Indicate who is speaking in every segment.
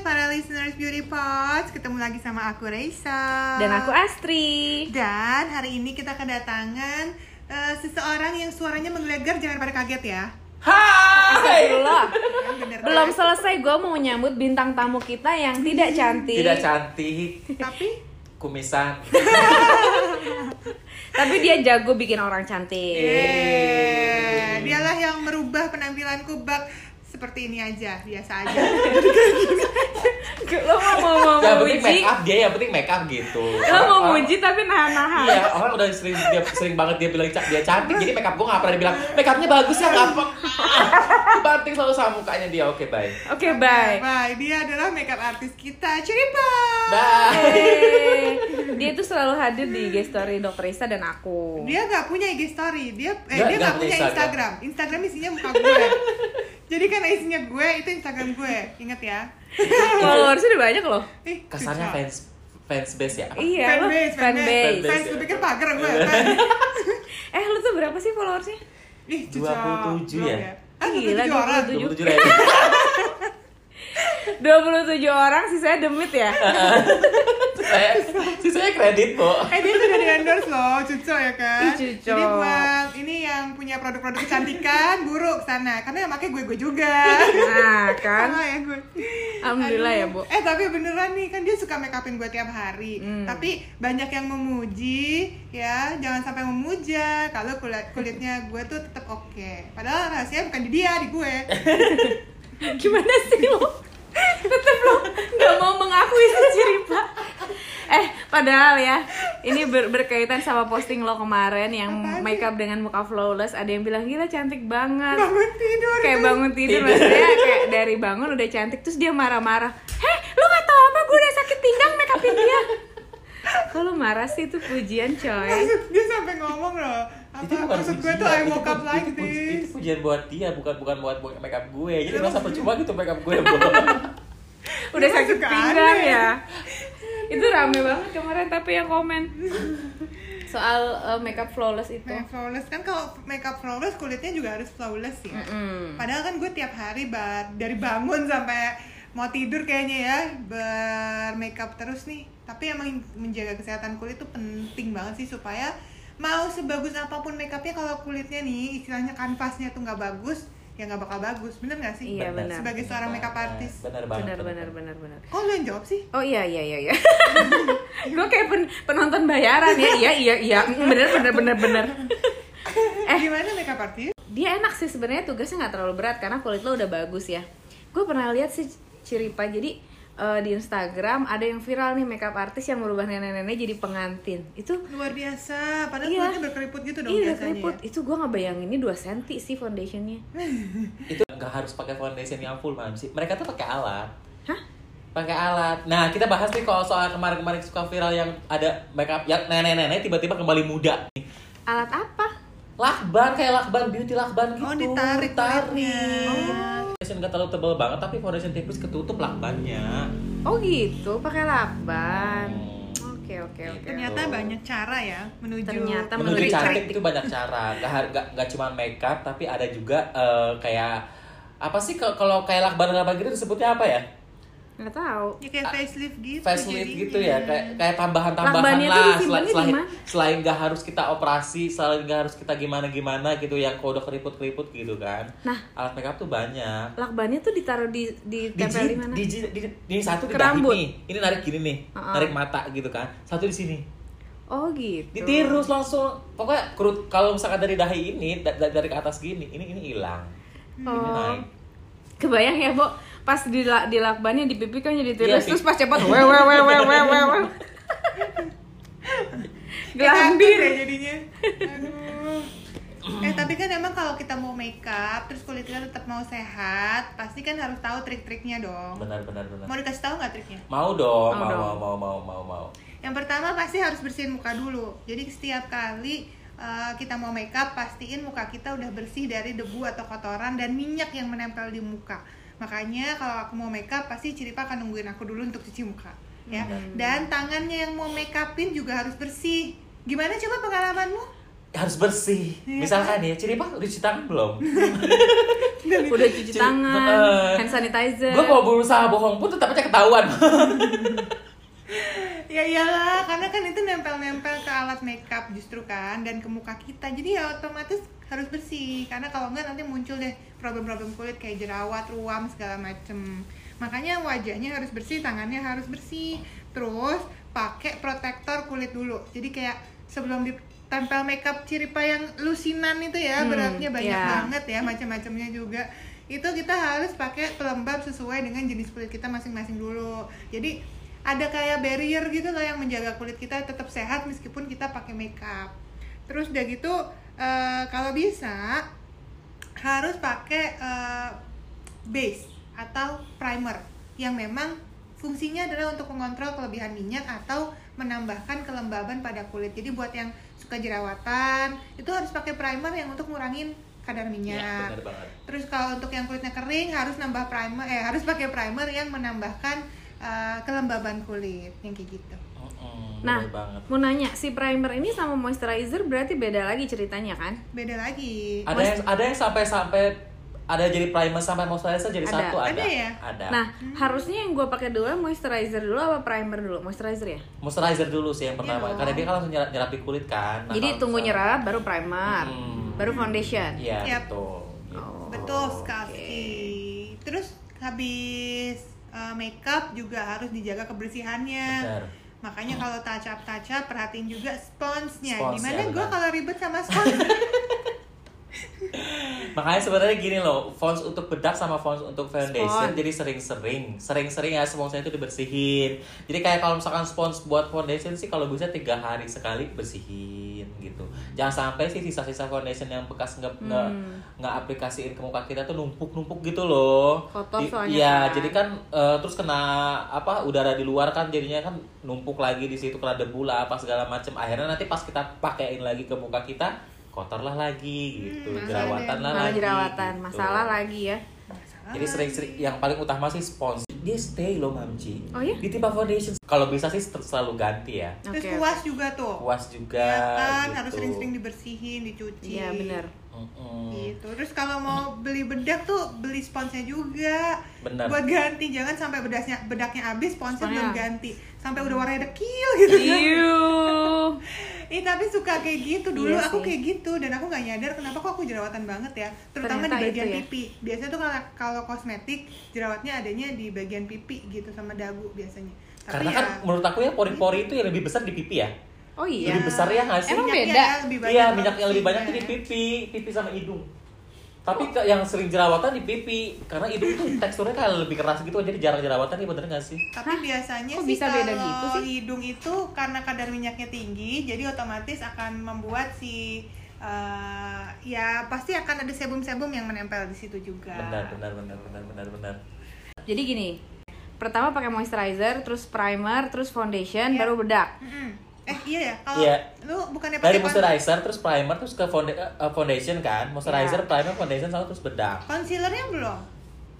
Speaker 1: listeners Beauty Pods, ketemu lagi sama aku Raisa
Speaker 2: Dan aku Astri.
Speaker 1: Dan hari ini kita kedatangan eh, seseorang yang suaranya menggelegar, jangan pada kaget ya.
Speaker 3: Hai.
Speaker 2: Astagfirullah.
Speaker 1: Yang bener
Speaker 2: Belum
Speaker 1: kan?
Speaker 2: selesai gue mau nyambut bintang tamu kita yang tidak cantik.
Speaker 3: Tidak cantik,
Speaker 1: Tapi
Speaker 3: kumisan.
Speaker 2: Tapi dia jago bikin
Speaker 1: Iya.
Speaker 2: orang cantik.
Speaker 1: eh, dialah yang merubah penampilanku bak seperti ini aja, biasa aja.
Speaker 2: Lo mau mau mau
Speaker 3: Yang penting
Speaker 2: muji.
Speaker 3: make up dia, yang penting make up gitu.
Speaker 2: Lo mau
Speaker 3: Orang-
Speaker 2: muji tapi nahan-nahan.
Speaker 3: Iya, orang udah sering dia, sering banget dia bilang cak dia cantik, jadi make up gue nggak pernah dibilang make upnya bagus ya nggak apa. Banting selalu sama mukanya dia. Oke, bye.
Speaker 2: Oke, bye.
Speaker 1: Bye, dia adalah makeup artis kita, Ciripa.
Speaker 3: Bye.
Speaker 2: Hey. Dia tuh selalu hadir di guest story Dr. Risa dan aku.
Speaker 1: Dia nggak punya IG story, dia eh,
Speaker 3: Nggak-
Speaker 1: dia
Speaker 3: nggak
Speaker 1: nggak punya
Speaker 3: punya
Speaker 1: Instagram.
Speaker 3: Instagram.
Speaker 1: Instagram isinya muka gue. Jadi karena isinya gue itu Instagram gue, inget ya.
Speaker 2: Followersnya udah banyak loh.
Speaker 1: Ih,
Speaker 3: Kesannya
Speaker 1: susah.
Speaker 3: fans fans base ya. Apa?
Speaker 2: Iya, lo
Speaker 1: fanbase, fanbase.
Speaker 3: fanbase.
Speaker 1: Fans, gue pikir pagar gue.
Speaker 2: Eh, lu tuh berapa sih followersnya?
Speaker 1: Ih, cucok.
Speaker 3: 27
Speaker 1: Belum
Speaker 3: ya?
Speaker 1: Ah,
Speaker 2: Gila,
Speaker 1: 27 orang.
Speaker 2: 27.
Speaker 3: 27 ribu.
Speaker 2: 27 orang, sisanya demit ya?
Speaker 3: Saya sisanya kredit, Bu.
Speaker 1: Eh, dia sudah di endorse loh, cucok ya kan?
Speaker 2: Ih, cucok.
Speaker 1: Jadi buat ini yang punya produk-produk kecantikan, buruk sana. Karena yang pakai gue-gue juga.
Speaker 2: Nah, kan?
Speaker 1: Salah ya gue.
Speaker 2: Alhamdulillah ya, Bu.
Speaker 1: Eh tapi beneran nih kan dia suka make upin gue tiap hari.
Speaker 2: Hmm.
Speaker 1: Tapi banyak yang memuji ya, jangan sampai memuja kalau kulit kulitnya gue tuh tetap oke. Padahal rahasia bukan di dia, di gue.
Speaker 2: gimana sih lo tetep lo nggak mau mengakui si ciri pak eh padahal ya ini ber- berkaitan sama posting lo kemarin yang
Speaker 1: Apaan
Speaker 2: makeup dengan muka flawless ada yang bilang gila cantik banget
Speaker 1: Bangun tidur.
Speaker 2: Nah, kayak
Speaker 1: kan?
Speaker 2: bangun tidur maksudnya kayak dari bangun udah cantik terus dia marah-marah heh lo nggak tahu apa gue udah sakit pinggang makeupin dia kalau marah sih itu pujian coy
Speaker 1: Maksud dia sampai ngomong loh. Apa maksud gue tuh I woke
Speaker 3: pujian, ya, itu
Speaker 1: up
Speaker 3: pu-
Speaker 1: like
Speaker 3: itu puji- Itu
Speaker 1: this.
Speaker 3: pujian buat dia, bukan bukan buat buat make up gue. Jadi
Speaker 1: Iya,
Speaker 3: masa
Speaker 1: maksudnya.
Speaker 3: percuma gitu make up gue, Bu.
Speaker 2: udah
Speaker 1: Dia
Speaker 2: sakit
Speaker 1: suka
Speaker 2: pinggang
Speaker 1: aneh.
Speaker 2: ya itu rame banget kemarin tapi yang komen soal uh, makeup flawless itu
Speaker 1: Make flawless kan kalau makeup flawless kulitnya juga harus flawless ya. Padahal kan gue tiap hari bar dari bangun sampai mau tidur kayaknya ya bermakeup terus nih. Tapi emang menjaga kesehatan kulit tuh penting banget sih supaya mau sebagus apapun makeupnya kalau kulitnya nih istilahnya kanvasnya tuh nggak bagus ya nggak bakal bagus bener nggak sih?
Speaker 2: Iya, benar.
Speaker 1: Sebagai seorang makeup artist.
Speaker 3: Benar banget.
Speaker 2: benar benar benar benar
Speaker 1: Kok lu yang jawab sih?
Speaker 2: oh iya iya iya iya gue kayak pen- penonton bayaran ya iya iya iya Mm, bener bener bener bener
Speaker 1: Eh. Gimana makeup artist?
Speaker 2: dia enak sih sebenarnya tugasnya nggak terlalu berat karena kulit lo udah bagus ya gue pernah lihat sih ciripa jadi uh, di Instagram ada yang viral nih makeup artis yang merubah nenek-nenek jadi pengantin itu
Speaker 1: Luar biasa. Padahal
Speaker 2: Iya.
Speaker 1: kulitnya berkeriput gitu dong
Speaker 2: Iya,
Speaker 1: biasanya.
Speaker 2: keriput.
Speaker 1: ya.
Speaker 2: Itu gue ngebayanginnya 2 cm sih foundationnya.
Speaker 3: Itu nggak harus pakai foundation yang full, Mam. sih. Mereka tuh pakai alat.
Speaker 2: Hah?
Speaker 3: Pakai alat. Nah, kita bahas nih kalau soal kemarin-kemarin suka viral yang ada make up yang nenek-nenek tiba-tiba kembali muda.
Speaker 2: Alat apa?
Speaker 3: Lakban kayak lakban beauty lakban gitu.
Speaker 1: Oh, ditarik kulitnya.
Speaker 3: Foundation nggak terlalu tebal banget, tapi foundation tipis ketutup lakbannya.
Speaker 2: Oh gitu, pakai lakban. Oke oke oke.
Speaker 1: Ternyata
Speaker 3: Gitu.
Speaker 1: banyak cara ya menuju
Speaker 2: Ternyata
Speaker 3: Hmm. menuju
Speaker 2: menuju
Speaker 3: cantik
Speaker 2: cantik.
Speaker 3: itu banyak cara nggak har- nggak nggak cuma makeup tapi ada juga eh, kayak apa sih kalau- kalau kayak lakban lakban gitu disebutnya apa ya
Speaker 2: Nggak tahu.
Speaker 1: Ya kayak facelift gitu.
Speaker 3: Ah, facelift
Speaker 1: jadinya.
Speaker 3: gitu ya kayak kayak tambahan tambahan
Speaker 2: Lakbannya tuh
Speaker 3: lah
Speaker 2: disimpannya
Speaker 3: selain
Speaker 2: di
Speaker 3: selain
Speaker 2: mana?
Speaker 3: selain nggak harus kita operasi selain nggak harus kita gimana gimana gitu yang kode keriput keriput gitu kan
Speaker 2: Nah.
Speaker 3: alat makeup tuh banyak
Speaker 2: Lakbannya tuh ditaruh di di
Speaker 3: di,
Speaker 2: tempel
Speaker 3: jil-
Speaker 2: di mana?
Speaker 3: di, jil- di, di- ini satu di
Speaker 2: Ke
Speaker 3: dahi
Speaker 2: rambut.
Speaker 3: nih ini narik gini nih
Speaker 2: Uh-uh.
Speaker 3: narik mata gitu kan satu di sini
Speaker 2: Oh gitu.
Speaker 3: ditiru langsung pokoknya kerut kalau misalkan dari dahi ini da- da- dari ke atas gini ini ini hilang ini
Speaker 2: Oh.
Speaker 3: naik
Speaker 2: Kebayang ya, Bo? Pas di la- di lakbannya di pipi kan jadi tirus
Speaker 3: Iya,
Speaker 2: terus
Speaker 3: pi-
Speaker 2: pas cepet we we we we we we. we.
Speaker 1: Gelampir ya
Speaker 2: Gelambir.
Speaker 1: jadinya. Aduh. Eh tapi kan emang kalau kita mau makeup terus kulit kita tetap mau sehat, pasti kan harus tahu trik-triknya dong.
Speaker 3: benar benar benar
Speaker 1: Mau dikasih tahu nggak triknya?
Speaker 3: mau dong
Speaker 2: Mau
Speaker 3: mau
Speaker 2: dong.
Speaker 3: mau mau mau mau mau
Speaker 1: Yang pertama pasti harus bersihin muka dulu. Jadi setiap kali eh, kita mau makeup pastiin muka kita udah bersih dari debu atau kotoran dan minyak yang menempel di muka. Makanya kalau aku mau makeup pasti Ciripa akan nungguin aku dulu untuk cuci muka, ya. Dan tangannya yang mau makeupin juga harus bersih. Gimana coba pengalamanmu?
Speaker 3: harus bersih.
Speaker 1: Iya.
Speaker 2: kan?
Speaker 3: Misalkan ya, ciri apa? Udah cuci tangan belum?
Speaker 2: udah cuci
Speaker 3: Cuci-
Speaker 2: tangan
Speaker 3: Heeh.
Speaker 2: hand sanitizer
Speaker 3: Gue mau berusaha bohong pun tetap aja ketahuan.
Speaker 1: ya iyalah karena kan itu nempel-nempel ke alat makeup justru kan dan ke muka kita jadi ya otomatis harus bersih karena kalau enggak nanti muncul deh problem-problem kulit kayak jerawat ruam segala macem makanya wajahnya harus bersih tangannya harus bersih terus pakai protektor kulit dulu jadi kayak sebelum ditempel makeup ciripa yang lusinan itu ya
Speaker 2: Hmm,
Speaker 1: beratnya banyak
Speaker 2: iya.
Speaker 1: banget ya macam-macamnya juga itu kita harus pakai pelembab sesuai dengan jenis kulit kita masing-masing dulu jadi ada kayak barrier gitu loh yang menjaga kulit kita tetap sehat meskipun kita pakai makeup terus udah gitu eh, kalau bisa harus pakai eh, base atau primer yang memang fungsinya adalah untuk mengontrol kelebihan minyak atau menambahkan kelembaban pada kulit. Jadi buat yang suka jerawatan itu harus pakai primer yang untuk ngurangin kadar minyak.
Speaker 3: Iya,
Speaker 2: Iya.
Speaker 3: Benar banget.
Speaker 1: Iya, Terus kalau untuk yang kulitnya kering harus nambah primer eh harus pakai primer yang menambahkan eh, kelembaban kulit yang kayak gitu.
Speaker 3: Mm-mm,
Speaker 2: nah
Speaker 3: bener banget.
Speaker 2: mau nanya si primer ini sama moisturizer berarti beda lagi ceritanya kan
Speaker 1: Beda lagi.
Speaker 3: Ada yang ada yang sampai sampai ada yang jadi primer sampai moisturizer jadi
Speaker 2: Ada.
Speaker 3: satu ada.
Speaker 1: Ada ya?
Speaker 3: Ada.
Speaker 2: nah harusnya yang gue pakai dulu moisturizer dulu apa primer dulu moisturizer ya
Speaker 3: Moisturizer dulu sih yang
Speaker 1: Iya.
Speaker 3: pertama, karena dia kan langsung nyerap, nyerap di kulit kan. Nah,
Speaker 2: jadi
Speaker 3: kalau
Speaker 2: tunggu
Speaker 3: misalnya-
Speaker 2: nyerap baru primer
Speaker 3: Hmm.
Speaker 2: baru foundation
Speaker 3: Iya,
Speaker 1: Yap.
Speaker 3: betul. Gitu.
Speaker 2: Oh.
Speaker 1: Betul sekali. Terus habis eh, makeup juga harus dijaga kebersihannya.
Speaker 3: Benar.
Speaker 1: Makanya kalau touch up touch up perhatiin juga sponsnya.
Speaker 3: Spons,
Speaker 1: Gimana
Speaker 3: ya,
Speaker 1: gue
Speaker 3: benar.
Speaker 1: kalau ribet sama spons?
Speaker 3: Makanya sebenarnya gini loh, fonts untuk bedak sama fonts untuk foundation
Speaker 2: Spons.
Speaker 3: jadi sering-sering, sering-sering ya sponsnya itu dibersihin. Jadi kayak kalau misalkan spons buat foundation sih kalau bisa tiga hari sekali bersihin gitu. Jangan sampai sih sisa-sisa foundation yang bekas nggak nggak
Speaker 2: Hmm.
Speaker 3: nggak aplikasiin ke muka kita tuh numpuk-numpuk gitu loh.
Speaker 2: Kotor
Speaker 3: Di-
Speaker 2: soalnya
Speaker 3: Iya,
Speaker 2: kan.
Speaker 3: jadi kan eh, terus kena apa udara di luar kan jadinya kan numpuk lagi di situ kena debu lah apa segala macem. Akhirnya nanti pas kita pakaiin lagi ke muka kita kotor lah lagi gitu,
Speaker 1: Hmm,
Speaker 3: jerawatan lah
Speaker 2: malah
Speaker 3: lagi.
Speaker 2: jerawatan
Speaker 3: gitu.
Speaker 2: masalah lagi ya
Speaker 3: Jadi sering-sering ya. yang paling utama sih spons. Dia stay loh Mamci.
Speaker 2: Oh iya?
Speaker 3: Di tipe foundation. Kalau bisa sih ter- selalu ganti ya.
Speaker 1: Terus
Speaker 2: Oke.
Speaker 1: kuas juga tuh.
Speaker 3: Kuas juga.
Speaker 1: Ya kan
Speaker 3: gitu.
Speaker 1: harus sering-sering dibersihin, dicuci.
Speaker 2: iya benar
Speaker 3: Mm-mm.
Speaker 1: Gitu. Terus kalau mau beli bedak tuh beli sponsnya juga.
Speaker 3: Benar.
Speaker 1: Buat ganti, jangan sampai bedaknya bedaknya habis, sponsnya
Speaker 2: Sponsnya.
Speaker 1: belum
Speaker 2: Hmm.
Speaker 1: ganti. Sampai udah warnanya dekil gitu.
Speaker 2: Iu.
Speaker 1: Eh tapi suka kayak gitu dulu
Speaker 2: Iya
Speaker 1: aku
Speaker 2: sih.
Speaker 1: kayak gitu dan aku nggak nyadar kenapa kok aku jerawatan banget ya terutama
Speaker 2: Ternyata
Speaker 1: di bagian
Speaker 2: itu ya.
Speaker 1: pipi biasanya tuh kalau kalau kosmetik jerawatnya adanya di bagian pipi gitu sama dagu biasanya tapi
Speaker 3: Karena
Speaker 1: ya
Speaker 3: kan menurut aku ya pori-pori itu yang lebih besar di pipi ya.
Speaker 2: oh iya
Speaker 3: Lebih besar ya nggak sih?
Speaker 2: Emang
Speaker 1: minyaknya
Speaker 2: beda?
Speaker 1: lebih banyak ya.
Speaker 3: Iya, minyak yang lebih
Speaker 1: produksinya
Speaker 3: banyak tuh di pipi, pipi sama hidung. Tapi ke- yang sering jerawatan di pipi karena hidung tuh teksturnya kayak lebih keras gitu jadi jarang jerawatan nih bener nggak sih?
Speaker 1: tapi biasanya
Speaker 2: Kok
Speaker 1: sih
Speaker 2: bisa beda
Speaker 1: kalau
Speaker 2: gitu sih?
Speaker 1: hidung itu karena kadar minyaknya tinggi jadi otomatis akan membuat si eh, ya pasti akan ada sebum-sebum yang menempel di situ juga
Speaker 3: Benar, benar, benar, benar, benar, benar.
Speaker 2: Jadi gini, pertama pakai moisturizer, terus primer, terus foundation,
Speaker 1: Iya.
Speaker 2: baru bedak.
Speaker 1: Mm-mm. eh iya ya kalau
Speaker 3: Iya.
Speaker 1: lu bukannya pakai
Speaker 3: Dari moisturizer terus primer terus ke founda- eh, foundation kan.
Speaker 1: Iya.
Speaker 3: Moisturizer, primer, foundation sama terus bedak.
Speaker 1: concealernya belum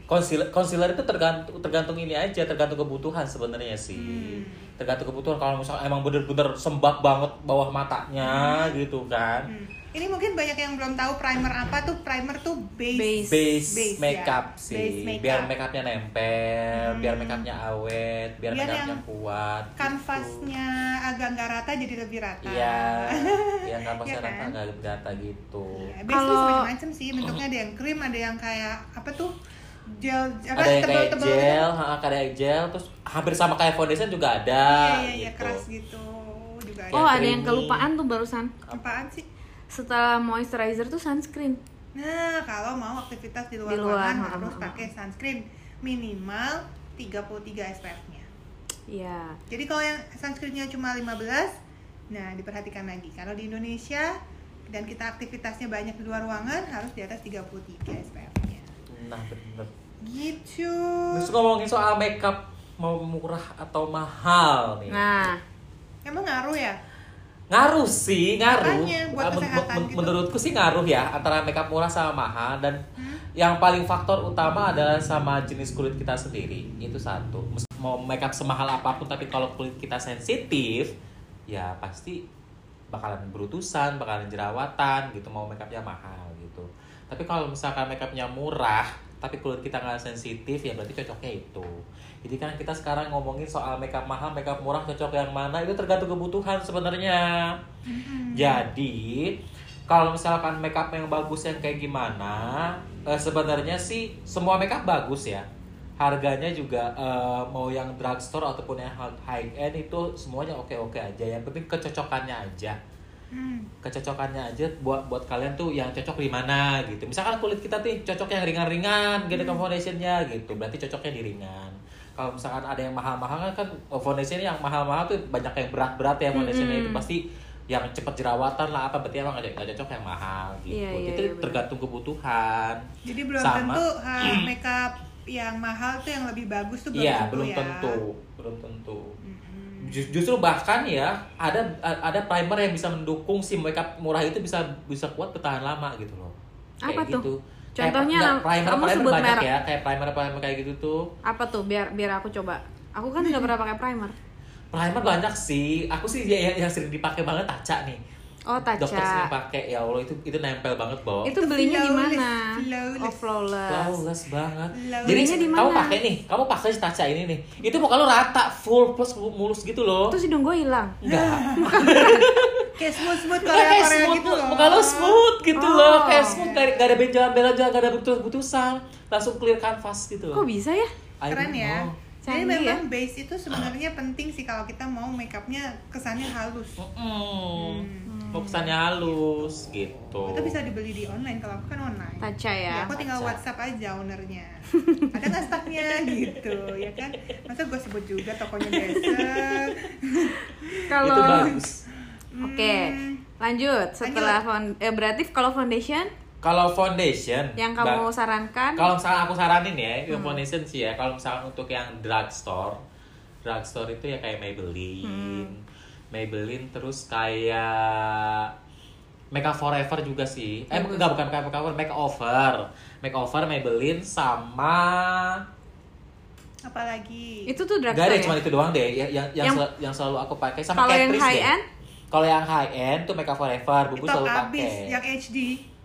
Speaker 3: Concealer, concealer itu tergantung tergantung ini aja, tergantung kebutuhan sebenarnya sih.
Speaker 1: Hmm.
Speaker 3: Tergantung kebutuhan kalau misalnya emang bener-bener sembab banget bawah matanya gitu kan.
Speaker 1: Hmm. Ini mungkin banyak yang belum tahu primer apa tuh. Primer tuh base.
Speaker 2: Base.
Speaker 3: Base,
Speaker 1: Base,
Speaker 3: makeup
Speaker 1: ya.
Speaker 3: sih,
Speaker 1: Base makeup. Hmm.
Speaker 3: biar makeupnya nempel, biar makeupnya awet, biar,
Speaker 1: Biar
Speaker 3: makeupnya
Speaker 1: yang
Speaker 3: kuat. gitu.
Speaker 1: Kanvasnya agak nggak rata jadi lebih rata.
Speaker 3: Iya, yang kanvasnya
Speaker 1: Iya kan?
Speaker 3: rata nggak rata gitu.
Speaker 1: Iya, Base tuh
Speaker 2: Kalau-
Speaker 1: macam-macam sih. Bentuknya ada yang krim, ada yang kayak apa tuh? Gel apa
Speaker 3: ada yang kayak
Speaker 1: tebel-tebel gitu.
Speaker 3: gel, ha, kayak gel, terus hampir sama kayak foundation juga
Speaker 1: Iya,
Speaker 3: ada.
Speaker 1: iya, iya,
Speaker 3: gitu.
Speaker 1: keras gitu juga Iya.
Speaker 3: Yang
Speaker 2: Oh,
Speaker 1: ada.
Speaker 2: ada yang
Speaker 3: creamy.
Speaker 2: kelupaan tuh barusan.
Speaker 1: Apaan sih?
Speaker 2: Setelah moisturizer tuh sunscreen.
Speaker 1: Nah, kalau mau aktivitas di luar,
Speaker 2: Di luar,
Speaker 1: ruangan
Speaker 2: ha, ha,
Speaker 1: harus
Speaker 2: ha.
Speaker 1: pakai sunscreen minimal 33 SPF-nya.
Speaker 2: Iya.
Speaker 1: Jadi kalau yang sunscreennya cuma 15, nah diperhatikan lagi. Kalau di Indonesia dan kita aktivitasnya banyak di luar ruangan harus di atas 33 SPF-nya.
Speaker 3: Nah, bener.
Speaker 1: Gitu.
Speaker 3: Terus ngomongin soal makeup mau murah atau mahal nih.
Speaker 2: Nah,
Speaker 1: Emang ngaruh ya?
Speaker 3: Ngaruh sih, ngaruh.
Speaker 1: Makanya, buat
Speaker 3: Men-
Speaker 1: kesehatan
Speaker 3: men-
Speaker 1: gitu.
Speaker 3: Menurutku sih ngaruh ya antara makeup murah sama mahal dan yang paling faktor utama adalah sama jenis kulit kita sendiri. Itu satu. Mes- Mau makeup semahal apapun tapi kalau kulit kita sensitif, ya pasti bakalan berutusan bakalan jerawatan gitu mau makeupnya mahal gitu tapi kalau misalkan makeupnya murah tapi kulit kita nggak sensitif ya berarti cocoknya itu jadi kan kita sekarang ngomongin soal makeup mahal makeup murah cocok yang mana itu tergantung kebutuhan sebenarnya
Speaker 1: Hmm.
Speaker 3: jadi kalau misalkan makeup yang bagus yang kayak gimana eh, sebenarnya sih semua makeup bagus ya harganya juga eh, mau yang drugstore ataupun yang high end itu semuanya oke oke aja yang penting kecocokannya aja
Speaker 1: Hmm.
Speaker 3: kecocokannya aja buat buat kalian tuh yang cocok di mana gitu misalkan kulit kita tuh cocok yang ringan-ringan gitu
Speaker 2: Hmm.
Speaker 3: ke foundationnya gitu berarti cocoknya di ringan kalau misalkan ada yang mahal-mahal kan, kan foundation yang mahal-mahal tuh banyak yang berat-berat ya foundationnya itu pasti yang cepet jerawatan lah apa berarti emang nggak nggak cocok yang mahal gitu
Speaker 2: Iya, iya,
Speaker 3: itu
Speaker 2: iya, benar.
Speaker 3: tergantung kebutuhan
Speaker 1: Jadi belum
Speaker 3: Sama.
Speaker 1: tentu ha, makeup yang mahal tuh yang lebih bagus tuh belum
Speaker 3: iya
Speaker 1: tentu
Speaker 3: belum
Speaker 1: ya.
Speaker 3: tentu belum tentu
Speaker 1: Mm-mm.
Speaker 3: Jus- justru bahkan ya ada a- ada primer yang bisa mendukung si makeup murah itu bisa bisa kuat bertahan lama gitu loh.
Speaker 2: Apa tuh?
Speaker 3: gitu.
Speaker 2: Contohnya,
Speaker 3: Kayak- nggak, primer,
Speaker 2: kamu
Speaker 3: primer
Speaker 2: sebut
Speaker 3: banyak
Speaker 2: merek.
Speaker 3: ya, kayak primer primer kayak gitu tuh.
Speaker 2: Apa tuh biar biar aku coba. Aku kan nggak pernah pakai primer.
Speaker 3: Primer banyak sih. Aku sih ya- yang, yang sering dipakai banget Taca nih.
Speaker 2: Oh,
Speaker 3: Dokter sering
Speaker 2: Tatcha.
Speaker 3: pakai ya Allah itu itu nempel banget bawa.
Speaker 2: Itu belinya di
Speaker 1: flawless,
Speaker 2: mana?
Speaker 1: flawless.
Speaker 2: Oh, flawless.
Speaker 3: Flawless banget.
Speaker 1: Flawless.
Speaker 3: Jadi
Speaker 2: Belinya di
Speaker 3: kamu
Speaker 2: mana?
Speaker 3: pakai nih, kamu pakai si Taca ini nih. Itu muka lu rata, full plus mulus gitu loh.
Speaker 2: Terus hidung gue hilang.
Speaker 3: Enggak.
Speaker 1: Kayak smooth smooth
Speaker 3: Nggak,
Speaker 1: Korea
Speaker 3: Iya, kayak
Speaker 1: Korea
Speaker 3: smooth,
Speaker 1: gitu
Speaker 3: loh.
Speaker 1: loh.
Speaker 3: muka lo smooth gitu
Speaker 2: Oh.
Speaker 3: loh kayak smooth gak, gak ada benjolan-benjolan gak ada butus-butusan langsung clear canvas gitu loh
Speaker 2: Kok bisa ya?
Speaker 3: I don't
Speaker 1: Keren ya.
Speaker 3: know.
Speaker 1: Jadi
Speaker 2: Canggih
Speaker 1: memang base itu sebenarnya penting sih kalau kita mau makeupnya kesannya halus.
Speaker 3: Oh. Mm-mm. mau kesannya halus gitu
Speaker 1: Itu bisa dibeli di online kalau aku kan online.
Speaker 2: Tatcha ya.
Speaker 1: aku tinggal
Speaker 3: Tatcha.
Speaker 1: WhatsApp aja ownernya. Ada nggak stoknya gitu, ya kan? Masa gue sebut juga tokonya Dessert.
Speaker 3: itu
Speaker 2: Kalau
Speaker 3: bagus
Speaker 2: Oke,
Speaker 1: Hmm,
Speaker 2: lanjut. Setelah found- eh, berarti kalau foundation
Speaker 3: kalau foundation
Speaker 2: yang
Speaker 3: Mbak,
Speaker 2: kamu sarankan
Speaker 3: kalau misalnya aku saranin
Speaker 2: Hmm.
Speaker 3: ya yang foundation sih ya kalau misalnya untuk yang drugstore drugstore itu ya kayak Maybelline
Speaker 2: Hmm.
Speaker 3: Maybelline terus kayak Makeup Forever juga sih eh
Speaker 2: Bagus.
Speaker 3: enggak bukan Makeup Forever Makeover Makeover Maybelline sama
Speaker 1: Apalagi.
Speaker 2: itu tuh
Speaker 3: Gak
Speaker 2: drugstore.
Speaker 3: ada
Speaker 2: ya?
Speaker 3: cuma itu doang deh yang yang yang,
Speaker 2: Yang-
Speaker 3: sel- yang selalu aku pakai sama
Speaker 2: Kalau yang
Speaker 3: Catrice
Speaker 2: high
Speaker 3: deh.
Speaker 2: end?
Speaker 3: Kalau yang high end tuh Makeup Forever, Bubu
Speaker 1: Stok
Speaker 3: selalu pakai.
Speaker 1: abis, yang HD.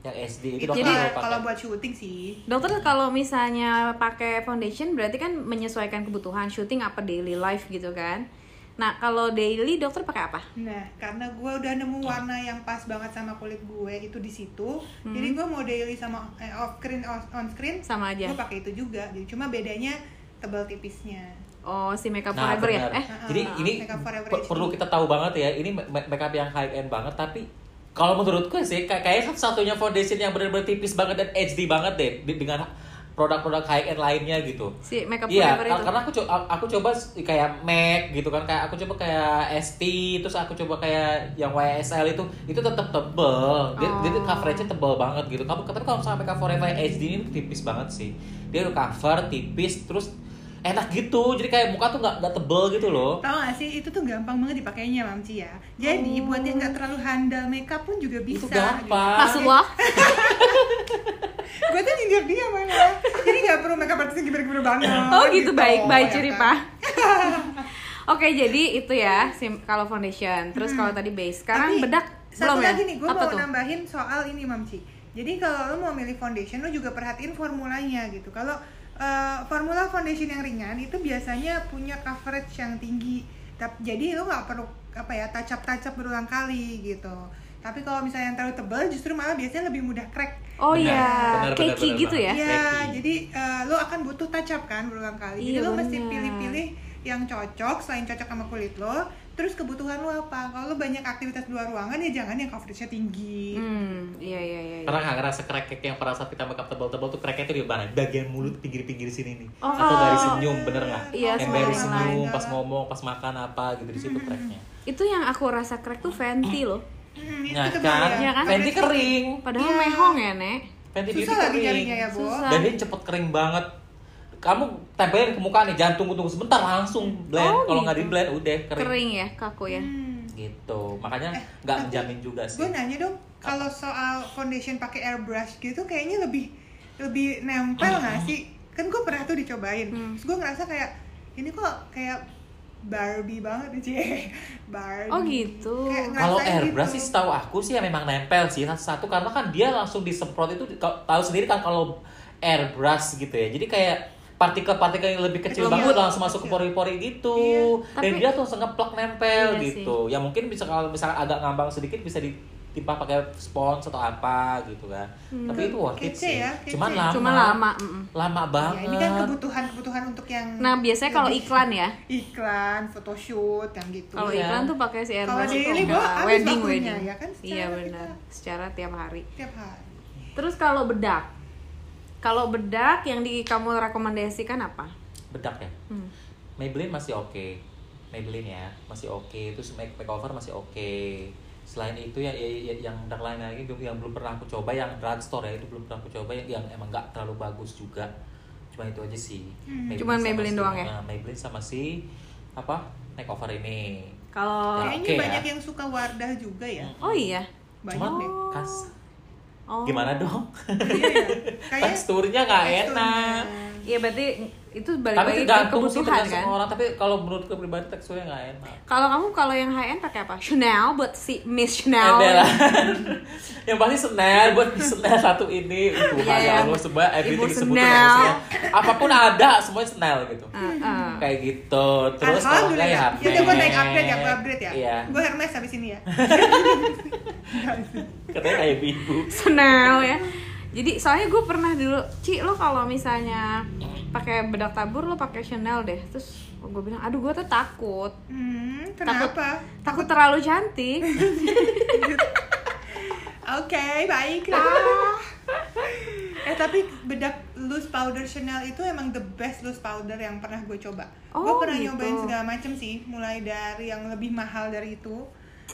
Speaker 3: Yang SD itu,
Speaker 1: Itu
Speaker 3: doang
Speaker 1: kalau
Speaker 2: ya. Jadi-
Speaker 3: selalu pakai.
Speaker 1: kalau buat syuting sih.
Speaker 2: Dokter kalau misalnya pakai foundation berarti kan menyesuaikan kebutuhan syuting apa daily life gitu kan. Nah, kalau daily dokter pakai apa?
Speaker 1: Nah, karena gue udah nemu warna yang pas banget sama kulit gue itu di situ. Jadi gue mau daily sama eh, off screen on screen
Speaker 2: Hmm. Sama aja.
Speaker 1: Gue pakai itu juga. Jadi cuma bedanya tebal tipisnya.
Speaker 2: Oh, si makeup
Speaker 3: Nah,
Speaker 2: forever ya?
Speaker 3: benar.
Speaker 2: Eh,
Speaker 3: jadi
Speaker 1: uh,
Speaker 3: ini
Speaker 1: makeup forever
Speaker 3: pe-
Speaker 1: HD.
Speaker 3: perlu kita tahu banget ya. Ini ma- ma- makeup yang high end banget tapi kalau menurutku sih kayak kayak satunya foundation yang benar-benar tipis banget dan HD banget deh di- dengan produk-produk high end lainnya gitu.
Speaker 2: si makeup
Speaker 3: Iya,
Speaker 2: forever
Speaker 3: ka-
Speaker 2: itu.
Speaker 3: karena aku coba aku coba s- kayak MAC gitu kan, kayak aku coba kayak ST, terus aku coba kayak yang YSL itu, itu tetap tebel. Dia, dia
Speaker 2: Oh.
Speaker 3: tuh coveragenya tebel banget gitu. Kamu tapi kalau sampai cover Forever HD ini tipis banget sih. Dia udah cover tipis, terus enak gitu. Jadi kayak muka tuh nggak nggak tebel gitu
Speaker 2: Oh.
Speaker 3: loh.
Speaker 1: Tau gak sih, itu tuh gampang banget dipakainya Mamci ya Jadi
Speaker 2: Oh.
Speaker 1: buat yang gak terlalu handal makeup pun juga bisa gitu.
Speaker 3: itu gampang.
Speaker 2: Rasulullah.
Speaker 1: Gue tuh nyindir dia malah Jadi gak perlu makeup artisnya gimana-gimana banget
Speaker 2: Oh, gitu baik, baik
Speaker 1: ya
Speaker 2: ciri
Speaker 1: kan?
Speaker 2: pak. Oke, jadi itu ya sim- kalau foundation. Terus kalau tadi base. Sekarang
Speaker 1: Hmm. Tapi,
Speaker 2: bedak
Speaker 1: Satu
Speaker 2: belum
Speaker 1: lagi
Speaker 2: ya?
Speaker 1: nih, gue
Speaker 2: apa
Speaker 1: mau
Speaker 2: tuh?
Speaker 1: nambahin soal ini Mamci Jadi kalau lo mau milih foundation, lo juga perhatiin formulanya gitu Kalau eh, formula foundation yang ringan itu biasanya punya coverage yang tinggi Tap- Jadi lo gak perlu apa ya tacap-tacap berulang kali gitu tapi kalau misalnya yang terlalu tebal justru malah biasanya lebih mudah crack
Speaker 2: Oh
Speaker 3: Benar,
Speaker 2: iya,
Speaker 3: benar, benar,
Speaker 2: cakey
Speaker 3: benar
Speaker 2: gitu ya?
Speaker 3: banget.
Speaker 1: Iya,
Speaker 3: Ready.
Speaker 1: jadi eh, lo akan butuh touch up kan berulang kali. jadi
Speaker 2: Iya,
Speaker 1: lo mesti
Speaker 2: benar.
Speaker 1: pilih-pilih yang cocok, selain cocok sama kulit lo, terus kebutuhan lo apa? Kalau lo banyak aktivitas di luar ruangan ya jangan yang coveragenya tinggi.
Speaker 2: Hmm, iya iya iya. iya.
Speaker 3: Pernah nggak ngerasa crack yang pada saat kita makeup tebel-tebel tuh cracknya tuh di mana? Bagian mulut pinggir-pinggir sini nih.
Speaker 2: Oh.
Speaker 3: Atau dari senyum, bener nggak?
Speaker 2: Iya,
Speaker 3: yang
Speaker 2: semua
Speaker 3: dari
Speaker 2: yang
Speaker 3: senyum,
Speaker 1: lain.
Speaker 3: pas ngomong, pas makan apa gitu di situ cracknya.
Speaker 2: Itu yang aku rasa crack tuh Fenty loh.
Speaker 1: Hmm, itu
Speaker 3: Nah,
Speaker 1: kebayang.
Speaker 3: kan?
Speaker 2: Iya kan?
Speaker 3: Fenty kering.
Speaker 2: Padahal
Speaker 1: Iya.
Speaker 2: mehong ya, Nek.
Speaker 3: Fenty Beauty
Speaker 1: Susah lagi
Speaker 3: kering.
Speaker 1: jarinya ya, Bo.
Speaker 2: Susah.
Speaker 3: Dan dia cepet kering banget. Kamu tempelin ke muka nih, jangan tunggu-tunggu sebentar langsung blend.
Speaker 2: Oh,
Speaker 3: Kalau nggak di
Speaker 2: gitu.
Speaker 3: blend udah kering.
Speaker 2: Kering Eh, ya, kaku ya.
Speaker 1: Hmm.
Speaker 3: Gitu. Makanya nggak menjamin juga sih.
Speaker 1: Gue nanya dong, kalau soal foundation pakai airbrush gitu kayaknya lebih lebih
Speaker 3: Hmm.
Speaker 2: Hmm.
Speaker 1: nempel nggak sih? Kan gue pernah tuh dicobain. Terus gue ngerasa kayak ini kok kayak Barbie banget cie Barbie
Speaker 2: Oh gitu.
Speaker 1: Kayak ngerasain
Speaker 3: Kalau airbrush
Speaker 1: gitu.
Speaker 3: sih setahu aku sih ya memang nempel sih satu-satu karena kan dia langsung disemprot itu kau- tahu sendiri kan kalau airbrush gitu ya. Jadi kayak partikel-partikel yang lebih kecil
Speaker 1: Kecil.
Speaker 3: banget langsung masuk ke pori-pori gitu.
Speaker 2: Iya.
Speaker 3: Dan
Speaker 2: Tapi-
Speaker 3: dia tuh langsung ngeplak nempel
Speaker 2: Iya
Speaker 3: gitu. Ya mungkin bisa kalau misalnya agak ngambang sedikit bisa ditimpa pakai spons atau apa gitu kan. Tapi itu worth
Speaker 1: Hmm.
Speaker 3: it
Speaker 1: Kece
Speaker 3: sih.
Speaker 1: ya, kece.
Speaker 3: Cuman lama.
Speaker 2: Cuma lama. mm-mm.
Speaker 3: Lama
Speaker 1: Ya,
Speaker 3: banget.
Speaker 1: ini kan kebutuhan-kebutuhan untuk yang
Speaker 2: Nah biasanya kalau
Speaker 1: lebih-
Speaker 2: iklan ya,
Speaker 1: iklan, photoshoot yang gitu.
Speaker 2: kalau
Speaker 3: Iya.
Speaker 2: iklan tuh pakai si
Speaker 1: Kalau
Speaker 2: airbrush
Speaker 1: daily
Speaker 2: itu
Speaker 1: gua
Speaker 2: enggak.
Speaker 1: habis
Speaker 2: wedding
Speaker 1: waktunya,
Speaker 2: wedding.
Speaker 1: ya kan? Secara
Speaker 2: iya
Speaker 1: kita-
Speaker 2: benar, secara tiap hari.
Speaker 1: Tiap hari.
Speaker 2: Terus kalau bedak, kalau bedak yang di kamu rekomendasikan apa?
Speaker 3: bedak ya
Speaker 2: Hmm.
Speaker 3: Maybelline masih oke Maybelline ya masih oke terus make makeover masih oke selain itu ya, ya- ya- yang dark lain lagi yang- yang belum pernah aku coba yang drugstore ya itu belum pernah aku coba yang, yang emang nggak terlalu bagus juga cuma itu aja sih
Speaker 1: Hmm.
Speaker 2: Cuman
Speaker 3: sama
Speaker 2: Maybelline
Speaker 3: si-
Speaker 2: doang ya?
Speaker 3: nah, Maybelline sama si apa makeover ini
Speaker 2: Kalau
Speaker 3: Ya.
Speaker 1: Kayaknya
Speaker 3: oke
Speaker 1: banyak yang suka Wardah juga ya.
Speaker 2: oh iya,
Speaker 1: Banyak
Speaker 3: Cuma-
Speaker 1: deh.
Speaker 3: kas
Speaker 2: oh
Speaker 3: gimana dong
Speaker 1: Iya ya. Kayak
Speaker 3: teksturnya nggak
Speaker 1: teksturnya.
Speaker 3: enak
Speaker 2: Iya berarti itu balik
Speaker 3: tapi
Speaker 2: lagi ke
Speaker 3: tergantung sih
Speaker 2: kebutuhan
Speaker 3: tergantung
Speaker 2: kan.
Speaker 3: orang tapi kalau menurutku pribadi teksturnya nggak enak
Speaker 2: Kalau kamu kalau yang high end pakai apa? Chanel buat si
Speaker 3: Eh,
Speaker 2: Miss Chanel. ya.
Speaker 3: Adalah yang pasti Senel buat Senel satu ini Tuhan
Speaker 2: Iya,
Speaker 3: ya
Speaker 2: iya.
Speaker 3: Allah sebab everything
Speaker 2: Ibu
Speaker 3: disebutin
Speaker 2: Senel.
Speaker 3: sama Senel. apapun ada semuanya Senel gitu
Speaker 2: Ah, Heeh.
Speaker 3: kayak gitu terus kalau nggak ya
Speaker 1: Alhamdulillah. Ya udah gue naik
Speaker 3: Hermes.
Speaker 1: upgrade ya, gue upgrade ya.
Speaker 3: iya
Speaker 1: Gue Hermes habis ini ya.
Speaker 3: katanya kayak ibu
Speaker 2: Senel ya. Jadi soalnya gue pernah dulu, Ci lo kalau misalnya pakai bedak tabur lo pakai Chanel deh. Terus gue bilang, aduh gue tuh takut,
Speaker 1: Hmm,
Speaker 2: Takut.
Speaker 1: kenapa?
Speaker 2: takut terlalu cantik.
Speaker 1: Oke, baiklah. eh tapi bedak loose powder Chanel itu emang the best loose powder yang pernah gue coba. gue
Speaker 2: Oh,
Speaker 1: pernah
Speaker 2: gitu.
Speaker 1: nyobain segala macem sih, mulai dari yang lebih mahal dari itu,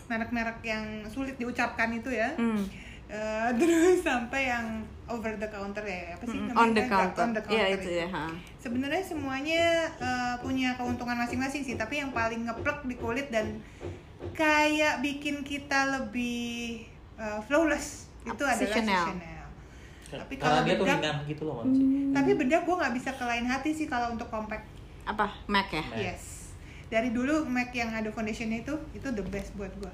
Speaker 1: merek-merek yang sulit diucapkan itu ya.
Speaker 2: Hmm.
Speaker 1: Eh, terus sampai yang over the counter ya apa sih
Speaker 2: Mm,
Speaker 1: namanya?
Speaker 2: on the
Speaker 1: Eh,
Speaker 2: counter,
Speaker 1: on the
Speaker 2: ya
Speaker 1: counter
Speaker 2: itu ya. ha.
Speaker 1: Sebenarnya semuanya eh, punya keuntungan masing-masing sih, tapi yang paling ngeplek di kulit dan kayak bikin kita lebih eh, flawless itu
Speaker 2: Apa sih
Speaker 1: adalah si
Speaker 2: Chanel?
Speaker 1: Chanel. Tapi
Speaker 3: Kan karena
Speaker 1: kalau
Speaker 3: dia tuh
Speaker 1: bedak-
Speaker 3: ringan gitu loh maksudnya
Speaker 1: Tapi bedak gue nggak bisa ke lain hati sih kalau untuk compact.
Speaker 2: Apa Mac ya?
Speaker 3: Mac.
Speaker 1: Yes. Dari dulu MAC yang ada foundationnya itu itu the best buat gue.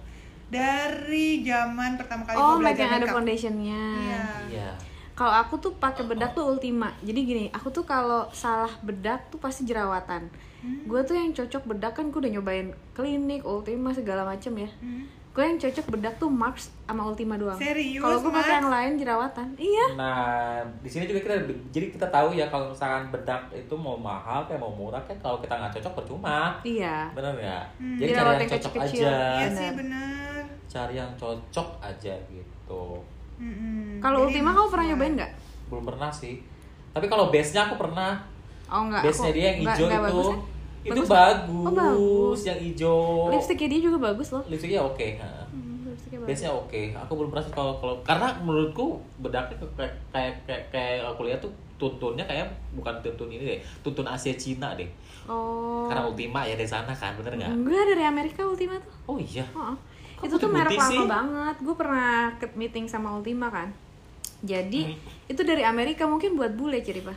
Speaker 1: Dari zaman pertama kali
Speaker 2: Oh
Speaker 1: gue
Speaker 2: Mac
Speaker 1: belajar
Speaker 2: yang ada
Speaker 1: makeup.
Speaker 2: foundationnya.
Speaker 1: Iya.
Speaker 3: iya
Speaker 2: Kalau aku tuh pakai bedak tuh ultima. Jadi gini, aku tuh kalau salah bedak tuh pasti jerawatan.
Speaker 1: Hmm.
Speaker 2: Gue tuh yang cocok bedak kan gue udah nyobain klinik, ultima segala macem ya.
Speaker 1: Hmm.
Speaker 2: Gue yang cocok bedak tuh Marks sama Ultima doang.
Speaker 1: Serius,
Speaker 2: Kalau gue
Speaker 1: Marks?
Speaker 2: pakai yang lain jerawatan. Iya.
Speaker 3: Nah, di sini juga kita jadi kita tahu ya kalau misalkan bedak itu mau mahal kayak mau murah kayak kalau kita nggak cocok percuma.
Speaker 2: Iya.
Speaker 3: Bener ya?
Speaker 1: Hmm.
Speaker 3: Jadi
Speaker 2: Jerawat
Speaker 3: cari yang
Speaker 2: yang
Speaker 3: cocok
Speaker 2: Iya, kecil-kecil.
Speaker 3: aja.
Speaker 1: Iya sih
Speaker 2: Benar.
Speaker 1: benar.
Speaker 3: Cari yang cocok aja gitu.
Speaker 1: Mm-mm.
Speaker 2: Kalau
Speaker 1: Jadi iya.
Speaker 2: Ultima kamu pernah
Speaker 1: maksimal.
Speaker 2: nyobain nggak?
Speaker 3: belum pernah sih tapi kalau base nya aku pernah
Speaker 2: Oh enggak.
Speaker 3: base nya
Speaker 2: aku-
Speaker 3: dia yang
Speaker 2: nggak-
Speaker 3: hijau itu
Speaker 2: nggak bagus, kan?
Speaker 3: itu
Speaker 2: Bagus kan?
Speaker 3: bagus, Ya
Speaker 2: Oh, bagus.
Speaker 3: yang hijau
Speaker 2: Lipstiknya dia juga bagus loh.
Speaker 3: lipstiknya oke ha.
Speaker 2: Hmm, lipstiknya bagus.
Speaker 3: base nya oke aku belum pernah sih kalau kalau karena menurutku bedaknya tuh kayak kayak kayak, kayak aku lihat tuh tuntunnya kayak bukan tuntun ini deh tuntun Asia Cina deh
Speaker 2: Oh. Mm-hmm.
Speaker 3: karena Ultima ya dari sana kan bener nggak
Speaker 2: Enggak dari Amerika Ultima tuh.
Speaker 3: oh iya
Speaker 2: Oh,
Speaker 3: Kok
Speaker 2: itu tuh merek lama
Speaker 3: putih-putih sih?
Speaker 2: banget. Gue pernah ke meeting sama Ultima kan. Jadi
Speaker 3: Hmm.
Speaker 2: itu dari Amerika mungkin buat bule ciri pak.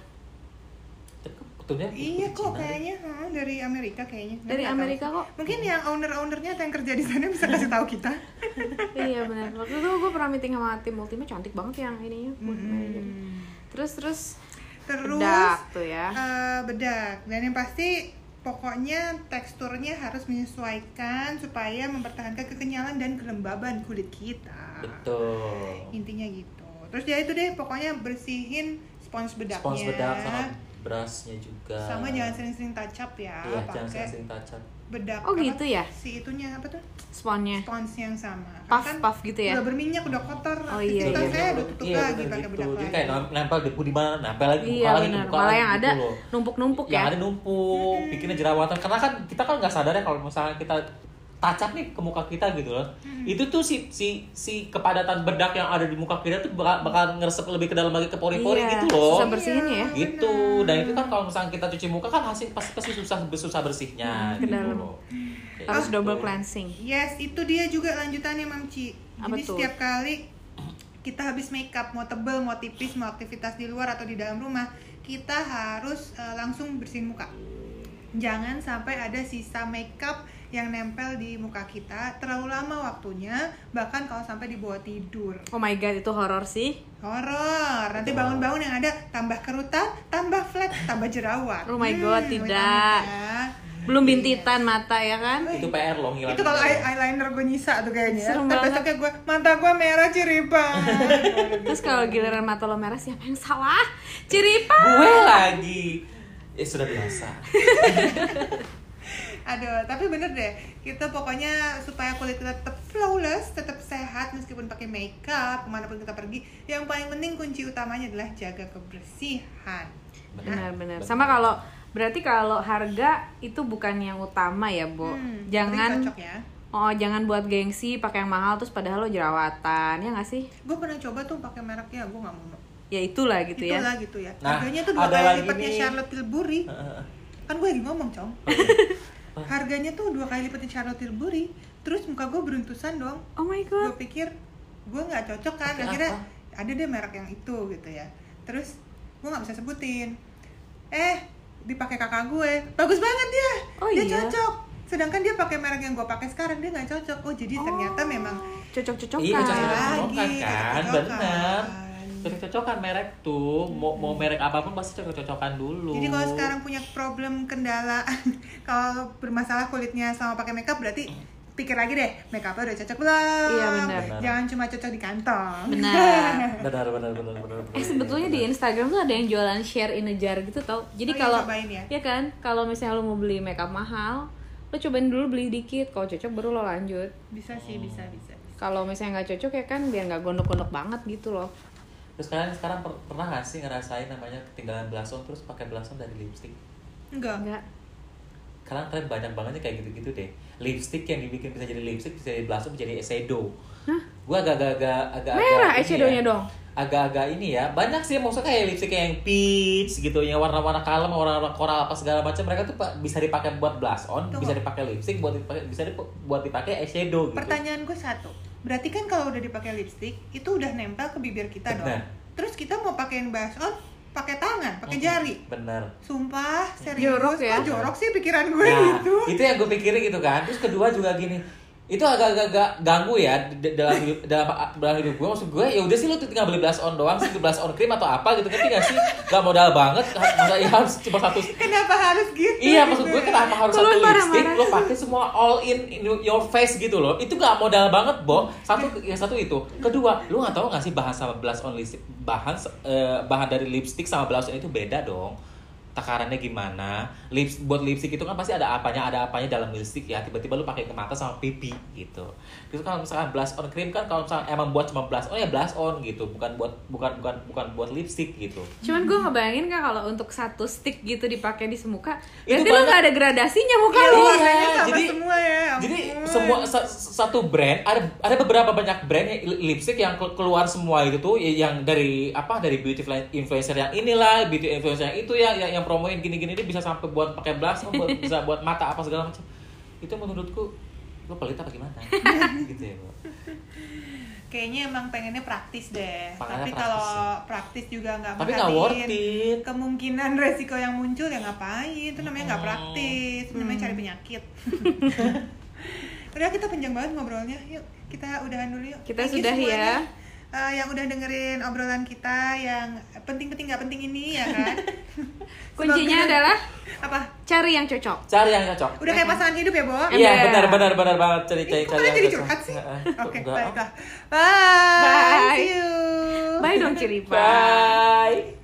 Speaker 3: Tapi kok tuntunnya
Speaker 1: Iya
Speaker 3: putih
Speaker 1: kok
Speaker 3: Cina deh?
Speaker 1: kayaknya ha, dari Amerika kayaknya. Nggak
Speaker 2: Dari
Speaker 1: tahu.
Speaker 2: Amerika kok.
Speaker 1: Mungkin yang owner-ownernya atau yang kerja di sana bisa kasih tahu kita.
Speaker 2: iya benar. Waktu itu gue pernah meeting sama tim Ultima cantik banget yang ininya. buat
Speaker 3: Hmm.
Speaker 2: manajer. Terus terus
Speaker 1: Hmm. Terus
Speaker 2: bedak tuh ya.
Speaker 1: eh, bedak dan yang pasti pokoknya teksturnya harus menyesuaikan supaya mempertahankan kekenyalan dan kelembaban kulit kita.
Speaker 3: betul
Speaker 1: Intinya gitu. Terus ya itu deh pokoknya bersihin spons bedaknya.
Speaker 3: spons bedak sama brushnya juga
Speaker 1: Sama jangan sering-sering touch up ya,
Speaker 3: iya jangan
Speaker 1: pakai
Speaker 3: sering touch up
Speaker 1: bedak.
Speaker 2: Oh,
Speaker 1: apa,
Speaker 2: gitu ya?
Speaker 1: Si itunya apa tuh?
Speaker 2: Sponnya.
Speaker 1: spons yang sama
Speaker 2: Iya. Puff
Speaker 1: Karena kan
Speaker 2: puff gitu ya.
Speaker 1: udah berminyak udah kotor
Speaker 2: Oh, iya,
Speaker 1: aktivitas
Speaker 2: iya,
Speaker 1: saya
Speaker 2: iya.
Speaker 1: udah tutup
Speaker 3: Iya,
Speaker 1: lagi
Speaker 3: bener
Speaker 1: pakai
Speaker 3: gitu.
Speaker 1: bedak
Speaker 3: Jadi
Speaker 1: lagi
Speaker 3: kayak nem- nempel debu di mana, nempel lagi, buka
Speaker 2: Iya
Speaker 3: lagi,
Speaker 2: benar.
Speaker 3: buka
Speaker 2: Malah
Speaker 3: lagi
Speaker 2: yang
Speaker 3: gitu
Speaker 2: ada
Speaker 3: loh.
Speaker 2: numpuk-numpuk
Speaker 3: Yang
Speaker 2: ya.
Speaker 3: ada numpuk, bikinnya jerawatan. Karena kan kita kan nggak sadar ya kalau misalnya kita tacap nih ke muka kita gitu loh. Itu tuh si si si kepadatan bedak yang ada di muka kita tuh bakal, bakal ngeresep lebih ke dalam lagi ke pori-pori
Speaker 2: Iya,
Speaker 3: gitu loh.
Speaker 2: Susah bersihinnya
Speaker 1: Iya,
Speaker 2: ya.
Speaker 3: gitu. Dan itu kan kalau misalnya kita cuci muka kan hasil pasti pasti susah susah
Speaker 2: Mm,
Speaker 3: bersihnya
Speaker 2: ke
Speaker 3: gitu
Speaker 2: dalam.
Speaker 3: loh. Kayak
Speaker 2: Harus
Speaker 3: gitu.
Speaker 2: double cleansing.
Speaker 1: yes itu dia juga lanjutannya mamci
Speaker 2: Apa
Speaker 1: jadi
Speaker 2: tuh?
Speaker 1: setiap kali kita habis makeup mau tebel mau tipis mau aktivitas di luar atau di dalam rumah kita harus eh, langsung bersihin muka jangan sampai ada sisa makeup yang nempel di muka kita terlalu lama waktunya bahkan kalau sampai dibawa tidur
Speaker 2: Oh my god, itu horor sih.
Speaker 1: horor nanti
Speaker 3: Wow.
Speaker 1: bangun-bangun yang ada tambah kerutan tambah flat tambah jerawat
Speaker 2: Oh
Speaker 3: Hmm,
Speaker 2: my God,
Speaker 1: amit-amit
Speaker 2: tidak.
Speaker 1: ya.
Speaker 2: Belum bintitan mata ya kan?
Speaker 3: itu PR loh ngilang
Speaker 1: itu kalau
Speaker 3: PR.
Speaker 1: eye- eyeliner gue nyisa tuh kayaknya
Speaker 2: Serem
Speaker 1: Ntar
Speaker 2: banget.
Speaker 1: besoknya gue mata gue merah ciripan
Speaker 2: Terus kalau giliran mata lo merah siapa yang salah? Ciripa.
Speaker 3: gue lagi ya sudah biasa
Speaker 1: Aduh, tapi bener deh, kita pokoknya supaya kulit kita tetap flawless, tetap sehat meskipun pakai makeup, kemanapun kita pergi. Yang paling penting kunci utamanya adalah jaga kebersihan.
Speaker 2: Benar-benar. Sama kalau berarti kalau harga itu bukan yang utama ya, Bo.
Speaker 1: Hmm, penting
Speaker 2: jangan
Speaker 1: cocok ya.
Speaker 2: Oh, jangan buat gengsi pakai yang mahal terus padahal lo jerawatan. Ya nggak sih?
Speaker 1: Gue pernah coba tuh pakai mereknya, gue nggak mau.
Speaker 2: Ya itulah gitu ya.
Speaker 1: Itulah gitu ya.
Speaker 3: Nah,
Speaker 1: Harganya tuh dua
Speaker 3: ada
Speaker 1: kali
Speaker 3: lagi
Speaker 1: lipatnya
Speaker 3: nih.
Speaker 1: Charlotte Tilbury. Kan gue lagi ngomong, Cong. Harganya tuh dua kali lipatnya Charlotte Tilbury. Terus muka gue beruntusan dong.
Speaker 2: Oh my
Speaker 1: gue
Speaker 2: god.
Speaker 1: pikir gue nggak cocok kan
Speaker 3: Pakai
Speaker 1: akhirnya
Speaker 3: apa?
Speaker 1: ada deh merek yang itu gitu ya terus gue nggak bisa sebutin eh dipakai kakak gue bagus banget dia
Speaker 2: Oh
Speaker 1: dia
Speaker 2: iya?
Speaker 1: cocok sedangkan dia pakai merek yang gue pakai sekarang dia nggak cocok oh jadi ternyata memang
Speaker 2: Cocok-cocokan.
Speaker 3: Iya,
Speaker 1: Lagi,
Speaker 3: cocok-cocokan kan,
Speaker 1: cocok-cocokan.
Speaker 3: benar. Cocok-cocokan merek tuh, mau, mau merek apapun pasti cocok-cocokan dulu.
Speaker 1: jadi kalau sekarang punya problem kendala kalau bermasalah kulitnya sama pakai makeup berarti pikir lagi deh makeupnya udah cocok belum
Speaker 2: Iya, benar.
Speaker 1: jangan cuma cocok di kantong
Speaker 2: Benar.
Speaker 3: benar benar benar benar. benar.
Speaker 2: Eh sebetulnya di Instagram tuh ada yang jualan share in a jar gitu tau. Jadi
Speaker 1: Oh, iya,
Speaker 2: kalau
Speaker 1: cobain ya.
Speaker 2: kan, kalau misalnya lo mau beli makeup mahal, lo cobain dulu beli dikit. Kalau cocok baru lo lanjut.
Speaker 1: bisa sih bisa bisa
Speaker 2: Kalau misalnya nggak cocok ya kan biar nggak gondok-gondok banget gitu loh.
Speaker 3: Terus kalian sekarang per- pernah gak sih ngerasain namanya ketinggalan belasan terus pakai belasan dari lipstick?
Speaker 1: enggak
Speaker 2: Enggak.
Speaker 3: Karena tren banyak banget kayak gitu-gitu deh. Lipstick yang dibikin bisa jadi lipstick, bisa jadi belasan, bisa jadi eyeshadow. Gue agak-agak agak
Speaker 2: Merah
Speaker 3: agak-
Speaker 2: eyeshadownya
Speaker 3: iya.
Speaker 2: dong.
Speaker 3: agak-agak ini ya banyak sih maksudnya kayak lipstick yang peach gitu yang warna-warna kalem warna-warna koral apa segala macam mereka tuh pa- bisa dipakai buat blush on
Speaker 1: Tuh.
Speaker 3: bisa dipakai lipstick buat dipakai bisa dip- buat dipakai eyeshadow gitu
Speaker 1: Pertanyaan gue satu, berarti kan kalau udah dipakai lipstick itu udah nempel ke bibir kita dong.
Speaker 3: Benar. Hmm.
Speaker 1: Terus kita mau pakaiin blush on oh, pakai tangan, pakai jari.
Speaker 3: bener
Speaker 1: Sumpah, serius.
Speaker 2: Jorok ya?
Speaker 1: Kok jorok sih pikiran gue
Speaker 3: Nah,
Speaker 1: gitu.
Speaker 3: itu yang gue pikirin gitu kan terus kedua juga gini itu agak-agak ganggu ya d- dalam hidup dalam dalam hidup gue maksud gue ya udah sih lu tinggal beli blush on doang sih blush on cream atau apa gitu ngerti gak sih gak modal banget ha- masa ya harus cuma satu
Speaker 1: Kenapa harus gitu?
Speaker 3: Iya
Speaker 1: gitu
Speaker 3: maksud gue
Speaker 1: ya?
Speaker 3: kenapa harus
Speaker 2: Keluar
Speaker 3: satu lipstick
Speaker 2: marah-marah.
Speaker 3: lo pakai semua all in, in your face gitu loh itu gak modal banget Bo satu ya satu itu kedua lu nggak tahu nggak sih bahan sama blush on lipstick bahan eh, bahan dari lipstick sama blush on itu beda dong takarannya gimana lips buat lipstick itu kan pasti ada apanya ada apanya dalam lipstick ya tiba-tiba lu pakai ke mata sama pipi gitu terus kalau misalkan blush on cream kan kalau misalkan emang buat cuma blush on ya blush on gitu bukan buat bukan bukan bukan buat lipstick gitu
Speaker 2: Cuman gue ngebayangin kan kalau untuk satu stick gitu dipakai di semuka,
Speaker 3: Itu
Speaker 2: berarti lo
Speaker 3: banget.
Speaker 2: nggak ada gradasinya muka
Speaker 1: Iya,
Speaker 2: lo.
Speaker 1: warnanya sama
Speaker 3: jadi-
Speaker 1: semua ya. ampun.
Speaker 3: Jadi semua sa- satu brand ada ada beberapa banyak brand yang- lipstick yang kel- keluar semua itu tuh ya- yang dari apa dari beauty fla- influencer yang inilah beauty influencer yang itu ya yang, yang promoin gini-gini dia bisa sampai buat pakai blush buat, bisa buat mata apa segala macam itu menurutku lo pelit apa gimana gitu ya Bu.
Speaker 1: kayaknya emang pengennya praktis deh.
Speaker 3: Pengennya
Speaker 1: Tapi
Speaker 3: praktis
Speaker 1: kalau
Speaker 3: ya.
Speaker 1: praktis juga nggak
Speaker 3: tapi nggak worth
Speaker 1: merhatiin
Speaker 3: it
Speaker 1: kemungkinan resiko yang muncul ya ngapain itu namanya nggak praktis itu namanya cari penyakit udah kita panjang banget ngobrolnya yuk kita udahan dulu yuk
Speaker 2: Kita
Speaker 1: Thank you
Speaker 2: sudahi ya.
Speaker 1: semuanya, eh, yang udah dengerin obrolan kita yang penting-penting nggak penting ini ya kan
Speaker 2: Kuncinya
Speaker 1: Semoga-
Speaker 2: adalah
Speaker 1: apa
Speaker 2: cari yang cocok.
Speaker 3: cari yang cocok
Speaker 1: udah kayak pasangan hidup ya bo
Speaker 3: iya
Speaker 2: Ember.
Speaker 3: benar benar benar banget cari cari
Speaker 1: Ih, kok
Speaker 3: cari
Speaker 1: kalian
Speaker 3: yang
Speaker 1: jadi
Speaker 3: cocok.
Speaker 1: curhat sih?
Speaker 3: Heeh.
Speaker 1: Oke,
Speaker 3: Enggak, ah.
Speaker 1: baiklah. Bye.
Speaker 2: Bye.
Speaker 1: See you.
Speaker 2: Bye dong Ciripa.
Speaker 3: bye